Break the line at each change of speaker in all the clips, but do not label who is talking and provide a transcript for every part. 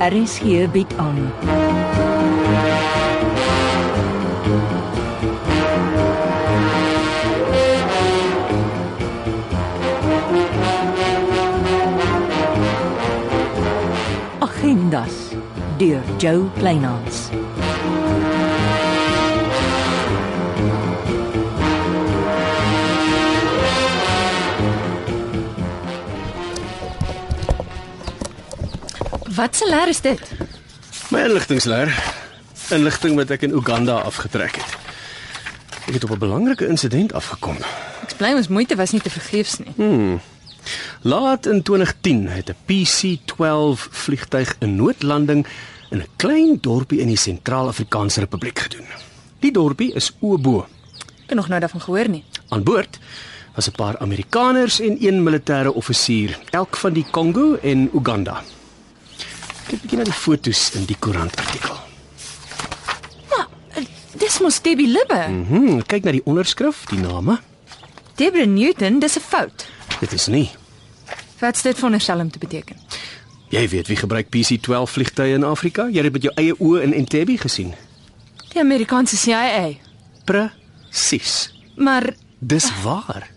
RSG bied aan. Agendas deur Jo Kleinhans.
Wat se leer is dit?
My inligtingleer, inligting wat ek in Uganda afgetrek het. Ek het op 'n belangrike insident afgekom.
Ek bly ons moeite was nie te vergeefs nie.
Laat in 2010 het 'n PC-12 vliegtyg 'n noodlanding in 'n klein dorpie in die Sentraal-Afrikaanse Republiek gedoen. Die dorpie is Obo.
Ek het nog nou daarvan gehoor nie.
Aan boord was 'n paar Amerikaners en een militêre offisier, elk van die Kongo en Uganda. Kyk bietjie na die fotos in die koerantartikel.
Maar eh, dis mos Debbie Libbe.
Mhm, kyk na die onderskrif, die name.
Deborah Newton, dis 'n fout.
Dit is nie
Wat's dit veronderstel om te beteken?
Jy weet wie gebruik PC-12 vliegtye in Afrika? Jy het dit met jou eie oë in Entebbe gesien.
Die Amerikaanse CIA.
Presies.
Maar
Dis waar.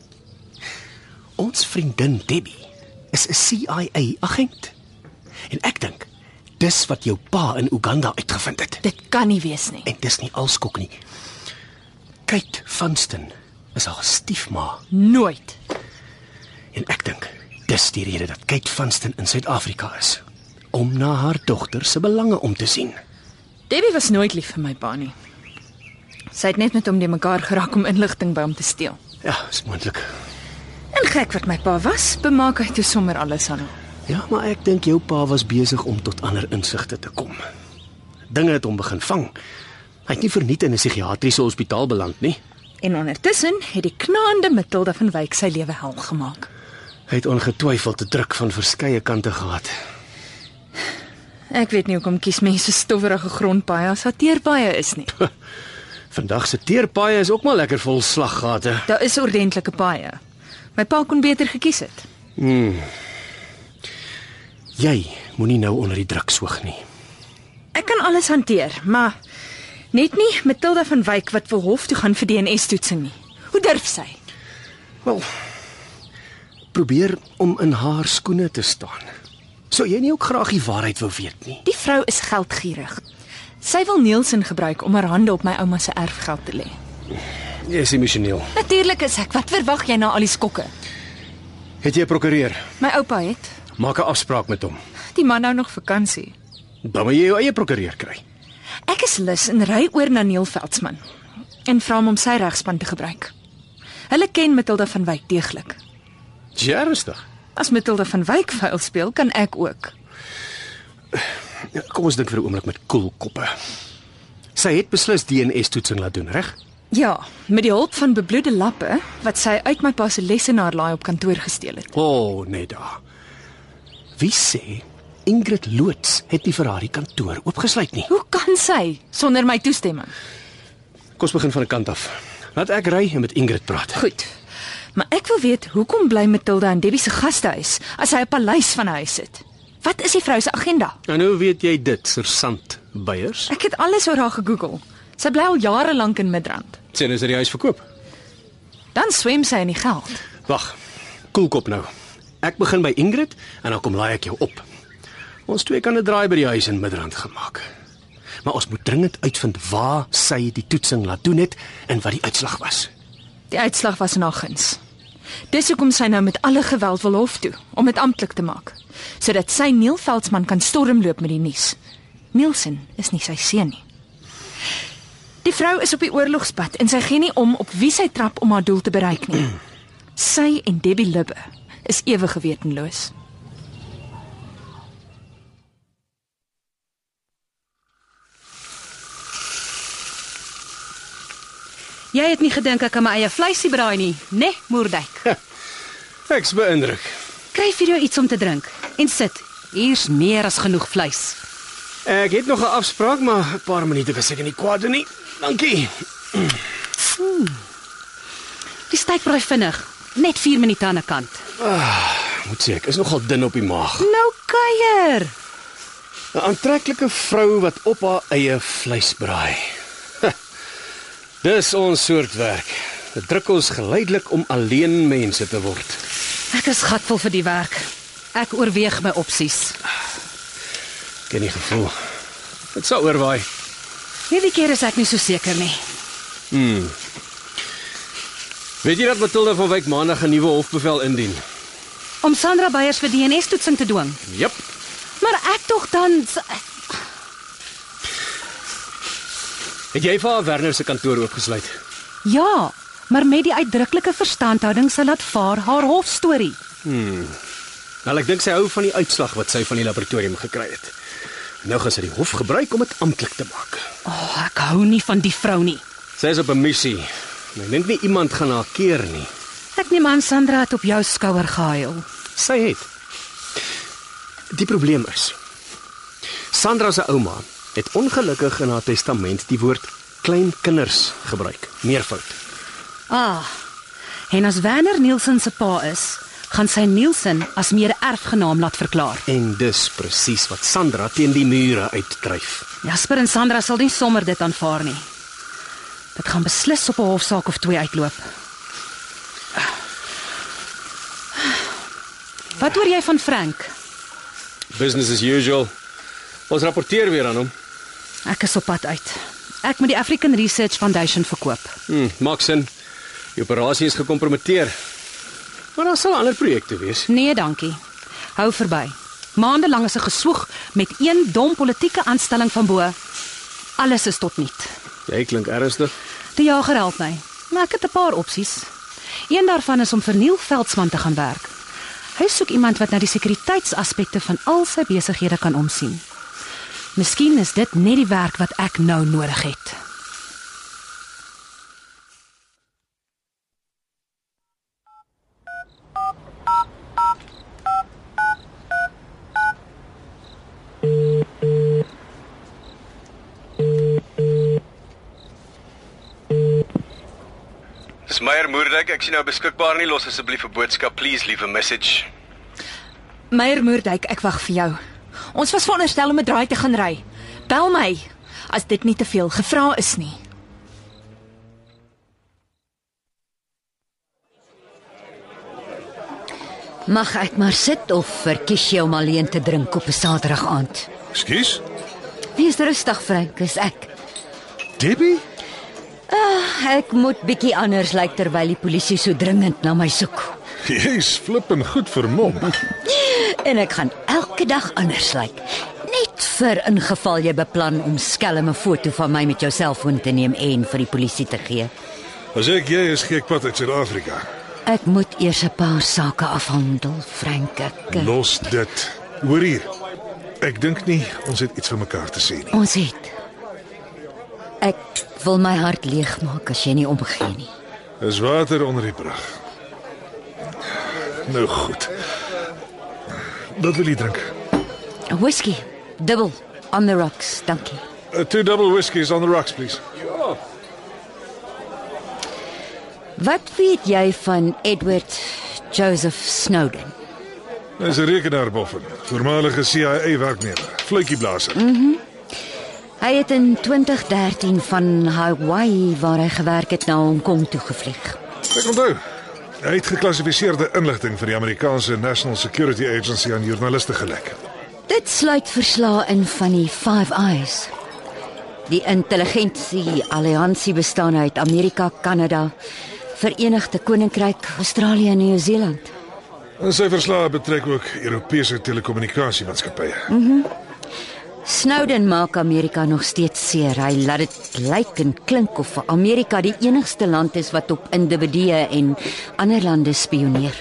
Ons vriendin Debbie is 'n CIA agent. En ek dink dis wat jou pa in Uganda uitgevind het.
dit kan nie wees nie.
En dis nie alskok nie. Kate Vanston is haar stiefma
Nooit.
en ek dink dis die rede dat Kate Vanston in Suid-Afrika is om na haar dogter se belange om te sien.
Debbie was nooit lief vir my pa nie. Sy het net met hom die mekaar geraak om inligting by hom te steel.
Ja, is moontlik.
En gek wat my pa was, bemaak hy toe sommer alles aan hom.
Ja, maar ek dink jou pa was besig om tot ander insigte te kom. Dinge het hom begin vang. Hy het nie verniet in 'n psigiatriese hospitaal beland nie.
En ondertussen het die knaande Matilda van Wyk sy lewe hel gemaak.
Hy het ongetwyfeld te druk van verskeie kante gehad.
Ek weet nie hoekom kies mense stowwerige grondpaaie as hanteerpaaie is nie.
Vandag se teerpaaie is ook maar lekker vol slaggate.
Daar is ordentlike paaie. My pa kon beter gekies het.
Jy moenie nou onder die druk soog nie.
Ek kan alles hanteer, maar net nie Matilda van Wyk wat wil hof toe gaan vir DNA-toetsing nie. Hoe durf sy?
Wel, probeer om in haar skoene te staan. Sou jy nie ook graag die waarheid wou weet nie?
Die vrou is geldgierig. Sy wil Nielsen gebruik om haar hande op my ouma se erfgeld te lê.
Jy is emosioneel.
Natuurlik is ek. Wat verwag jy na al die skokke?
Het jy 'n prokureur?
My oupa het.
Maak 'n afspraak met hom.
Die man nou nog vakansie.
Dan moet jy jou eie prokureur kry.
Ek is lus en ry oor na Neil Veldsmann en vra hom om sy regspan te gebruik. Hulle ken Matilda van Wyk deeglik.
Jerstig.
As Matilda van Wyk vuil speel, kan ek ook.
Ja, Kom ons dink vir 'n oomblik met koel koppe. Sy het beslis DNA-toetsing laat doen, reg?
Ja, met die hulp van bebloede lappe wat sy uit my pa se lesenaar laai op kantoor gesteel het.
O, oh, nee da. Wie sê Ingrid Loots het nie vir haar die kantoor oopgesluit nie?
Hoe kan sy sonder my toestemming?
Kom ons begin van 'n kant af. Laat ek ry en met Ingrid praat.
Goed. Maar ek wil weet hoekom bly Matilda in Debbie se gastehuis as sy 'n paleis van 'n huis het? Wat is die vrou se agenda?
En hoe weet jy dit, Sersant Beyers?
Ek het alles oor haar gegoogel. Sy bly al jare lank in Midrand.
Sê hulle is uit die huis verkoop.
Dan swem sy in die geld.
Wag. Koel kop nou. Ek begin by Ingrid en dan kom laai ek jou op. Ons twee kan 'n draai by die huis in Midrand gemaak. Maar ons moet dringend uitvind waar sy die toetsing laat doen het en wat die uitslag was.
Die uitslag was naggens. Dis hoekom sy nou met alle geweld wil hof toe om dit amptelik te maak, sodat sy Neil Veldsmann kan stormloop met die nuus. Nielsen is nie sy seun nie. Die vrou is op die oorlogspad en sy gee nie om op wie sy trap om haar doel te bereik nie. Sy en Debbie Libbe is ewig gewetenloos.
Jy het nie gedink ek kan my eie vleisie braai nie, né, nee, Moerdijk?
Ek's beïndruk.
Kry vir jou iets om te drink en sit. Hier's meer as genoeg vleis.
Ek het nog 'n afspraak, maar 'n paar minute was ek in die kwad nie. Dankie.
Die steak braai vinnig, net 4 minute aan 'n kant.
Moet sê ek is nogal dun op die maag.
Nou kuier.
'n Aantreklike vrou wat op haar eie vleis braai. Ha, Dis ons soort werk. Dit druk ons geleidelik om alleen mense te word.
Ek is gatvol vir die werk. Ek oorweeg my opsies.
Ek Ken die gevoel. Dit sal oorwaai.
Hierdie keer is ek nie so seker nie.
Weet jy dat Matilda van Wyk maandag 'n nuwe hofbevel indien?
Om Sandra Beyers vir DNS-toetsing te dwing.
Jep.
Maar ek tog dan
Het jy vir haar Werner se kantoor oopgesluit?
ja, maar met die uitdruklike verstandhouding sal laat vaar haar hofstorie.
Wel, ek dink sy hou van die uitslag wat sy van die laboratorium gekry het. Nou gaan sy die hof gebruik om dit amptelik te maak.
O, oh, ek hou nie van die vrou nie.
Sy is op 'n missie. En Ek dink nie iemand gaan haar keer nie.
Ek neem aan Sandra het op jou skouer gehuil.
Sy het. Die probleem is Sandra se ouma het ongelukkig in haar testament die woord kleinkinders gebruik, meervoud.
Ah. En as Werner Nielsen se pa is, gaan sy Nielsen as meer erfgenaam laat verklaar.
En dis presies wat Sandra teen die mure uitdryf.
Jasper en Sandra sal nie sommer dit aanvaar nie. Dit gaan beslis op 'n hofsaak of twee uitloop. Wat hoor jy van Frank?
Business as usual. Ons rapporteer weer aan hom.
Ek is op pad uit. Ek moet die African Research Foundation verkoop.
Hm, maak sin. Die operasie is gekompromiteer. Maar daar sal ander projekte wees.
Nee, dankie. Hou verby. Maande lank is 'n geswoeg met een dom politieke aanstelling van bo. Alles is tot niet.
Jy klink ernstig.
Die jager help my, maar ek het 'n paar opsies. Een daarvan is om vir Neil Veldsmann te gaan werk. Hy soek iemand wat na die sekuriteitsaspekte van al sy besighede kan omsien. Miskien is dit net die werk wat ek nou nodig het.
Dis Meyer Moerdijk, ek sien nou beskikbaar nie. Los asseblief 'n boodskap, please leave a message.
Meyer Moerdijk, ek wag vir jou. Ons was veronderstel om 'n draai te gaan ry. Bel my as dit nie te veel gevra is nie.
Mag ek maar sit of verkies jy om alleen te drink op 'n Saterdag aand?
Ekskuus?
Wees rustig, Frank, is ek.
Debbie?
Ek moet bietjie anders lyk terwyl die polisie so dringend na my soek.
Jy's flippend goed vermom.
En ek gaan elke dag anders lyk. Net vir ingeval jy beplan om skelm 'n foto van my met jou selfoon te neem en vir die polisie te gee.
As ek jy is gek pad uit Suid-Afrika.
Ek moet eers 'n paar sake afhandel, Frank. Ek,
Los dit. Hoor hier. Ek dink nie ons het iets vir mekaar te sê nie.
ons het. Ek wil my hart leegmaak as jy nie omgee nie.
Dis water onder die brug. Nou goed. Wat wil jy drink?
'n Whisky, dubbel, on the rocks, dankie.
Uh, two double whiskeys on the rocks, please.
Wat weet jy van Edward Joseph Snowden?
Dis 'n rekenaar boffin. Voormalige CIA werknemer. Fluitjieblaser.
Hy het in 2013 van Hawaii waar hy gewerk het na Hong Kong toe gevlieg.
Ek onthou. Hy het geklassifiseerde inligting vir die Amerikaanse National Security Agency aan joernaliste gelek.
Dit sluit verslae in van die Five Eyes. Die intelligensie alliansie bestaan uit Amerika, Kanada, Verenigde Koninkryk, Australië en Nieu-Seeland.
En sy verslae betrek ook Europese telekommunikasiemaatskappye.
Snowden maak Amerika nog steeds seer. Hy laat dit lyk en klink of Amerika die enigste land is wat op individue en ander lande spioneer.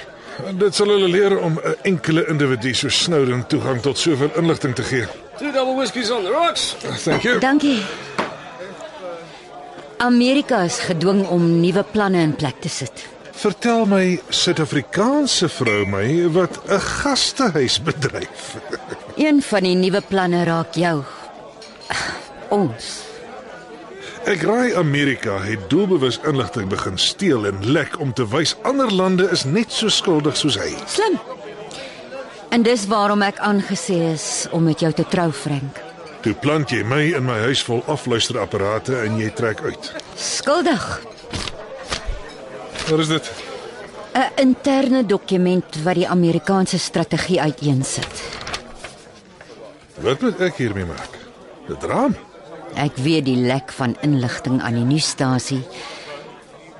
En dit sal hulle leer om 'n enkele individu so Snowden toegang tot soveel inligting te gee.
Two double whiskeys on the rocks.
Thank you.
Dankie. Amerika is gedwing om nuwe planne in plek te sit.
Vertel my Suid-Afrikaanse vrou my wat 'n gastehuis bedryf.
Een van die nuwe planne raak jou. Ons.
Ek raai Amerika het doelbewus inligting begin steel en lek om te wys ander lande is net so skuldig soos hy.
Slim. In En dis waarom ek aangesê is om met jou te trou, Frank.
Toe plant jy my in my huis vol afluisterapparate en jy trek uit.
Skuldig.
Wat is dit?
'n Interne dokument wat die Amerikaanse strategie uiteensit.
Wat moet ek hiermee maak? Dit raam.
Ek weet die lek van inligting aan die nuusstasie.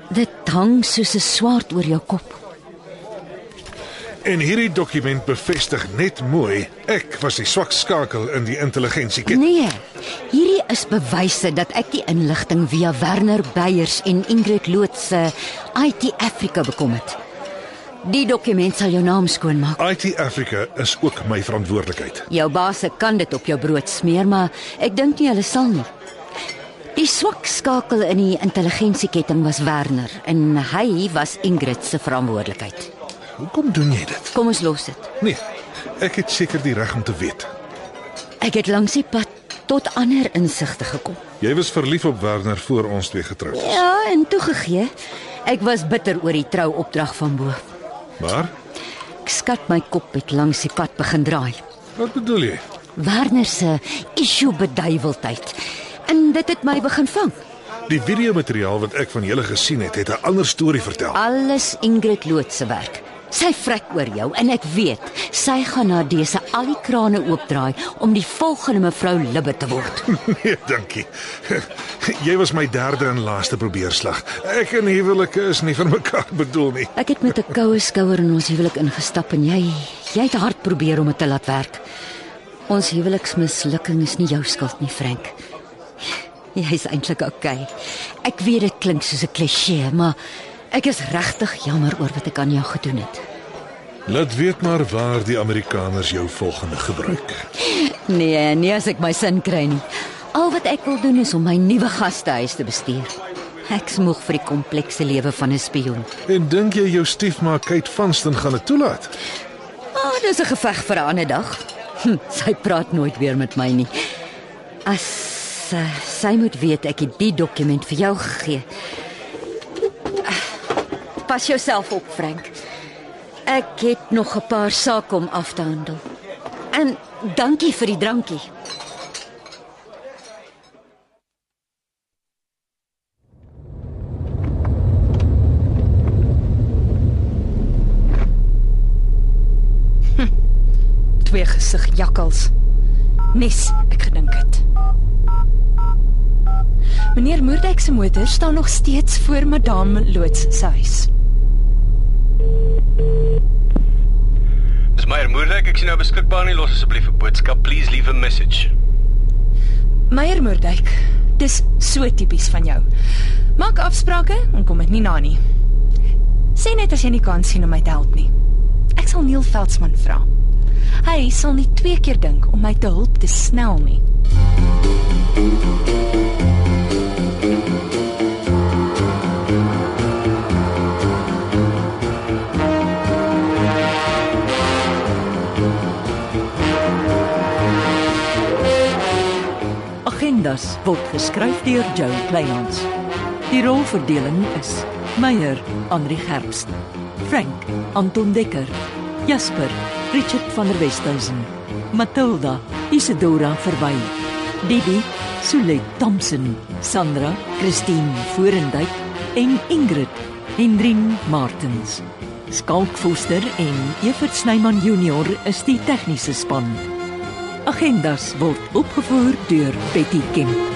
Dit hang soos 'n swaard oor jou kop.
En hierdie dokument bevestig net mooi ek was die swak skakel in die intelligensieketting.
Nee, hierdie is bewyse dat ek die inligting via Werner Beyers en Ingrid Loot se IT Africa bekom het. Die dokument sal jou naam skoon maak.
IT Africa is ook my verantwoordelikheid.
Jou baas kan dit op jou brood smeer, maar ek dink nie hulle sal nie. Die swak skakel in die intelligensieketting was Werner en hy was Ingrid se verantwoordelikheid.
Hoekom doen jy dit?
Kom ons los dit.
Nee, ek het seker die reg om te weet.
Ek het langs die pad tot ander insigte gekom.
Jy was verlief op Werner voor ons twee getroud is.
Ja, en toegegee, ek was bitter oor die trouopdrag van bo.
Maar
Ek skat my kop het langs die pad begin draai.
wat bedoel jy?
Werner se issue beduiweldheid. En dit het my begin vang.
Die videomateriaal wat ek van julle gesien het, het 'n ander storie vertel.
Ah. Alles Ingrid Loot se werk. Sy vrek oor jou en ek weet, sy gaan na dese al die krane oopdraai om die volgende mevrou Libbe te word.
Nee, dankie. Jy was my derde en laaste probeerslag. Ek en huwelike is nie vir mekaar bedoel nie.
Ek het met 'n koue skouer in ons huwelik ingestap en jy, jy het hard probeer om dit te laat werk. Ons huweliksmislukking is nie jou skuld nie, Frank. Jy's eintlik okay. Ek weet dit klink soos 'n klisjé, maar ek is regtig jammer oor wat ek aan jou gedoen het.
Laat weet maar waar die Amerikaners jou volgende gebruik.
Nee, nee as ek my sin kry nie. Al wat ek wil doen is om my nuwe gastehuis te bestuur. Ek smoeg vir die komplekse lewe van 'n spioen.
En dink jy jou stiefma Kate Vanston gaan dit toelaat?
Ah, dis 'n geveg vir 'n ander dag. Hm, sy praat nooit weer met my nie. As uh, sy moet weet ek het die dokument vir jou gegee. Ah, Pas jouself op, Frank. Ek het nog 'n paar sake om af te handel. En dankie vir die drankie.
Twee gesig jakkals. Nes, ek gedink het. Meneer Moerdijk se motor staan nog steeds voor Madame Loots se huis.
Dis Meyer Moerdijk, ek sien nou beskikbaar nie. Los asseblief 'n boodskap. Please leave a message.
Meyer Moerdijk, dis so tipies van jou. Maak afsprake en kom dit nie na nie. Sê net as jy nie kan sien om my te help nie. Ek sal Neil Veldsmann vra. Hy sal nie twee keer dink om my te hulp te snel nie.
Agendas word geskryf deur Joe Kleinhans. Die rolverdeling is: Meyer, Andri Gerbst, Frank, Anton Dekker, Jasper, Richard van der Westhuizen, Matilda, Isidora Verwy, Didi, Sulet Thompson, Sandra, Christine Forendyk en Ingrid Hendrin Martens. Skalk Foster en Evert Snyman Junior is die tegniese span. Agendas word opgevoer deur Betty Kemp.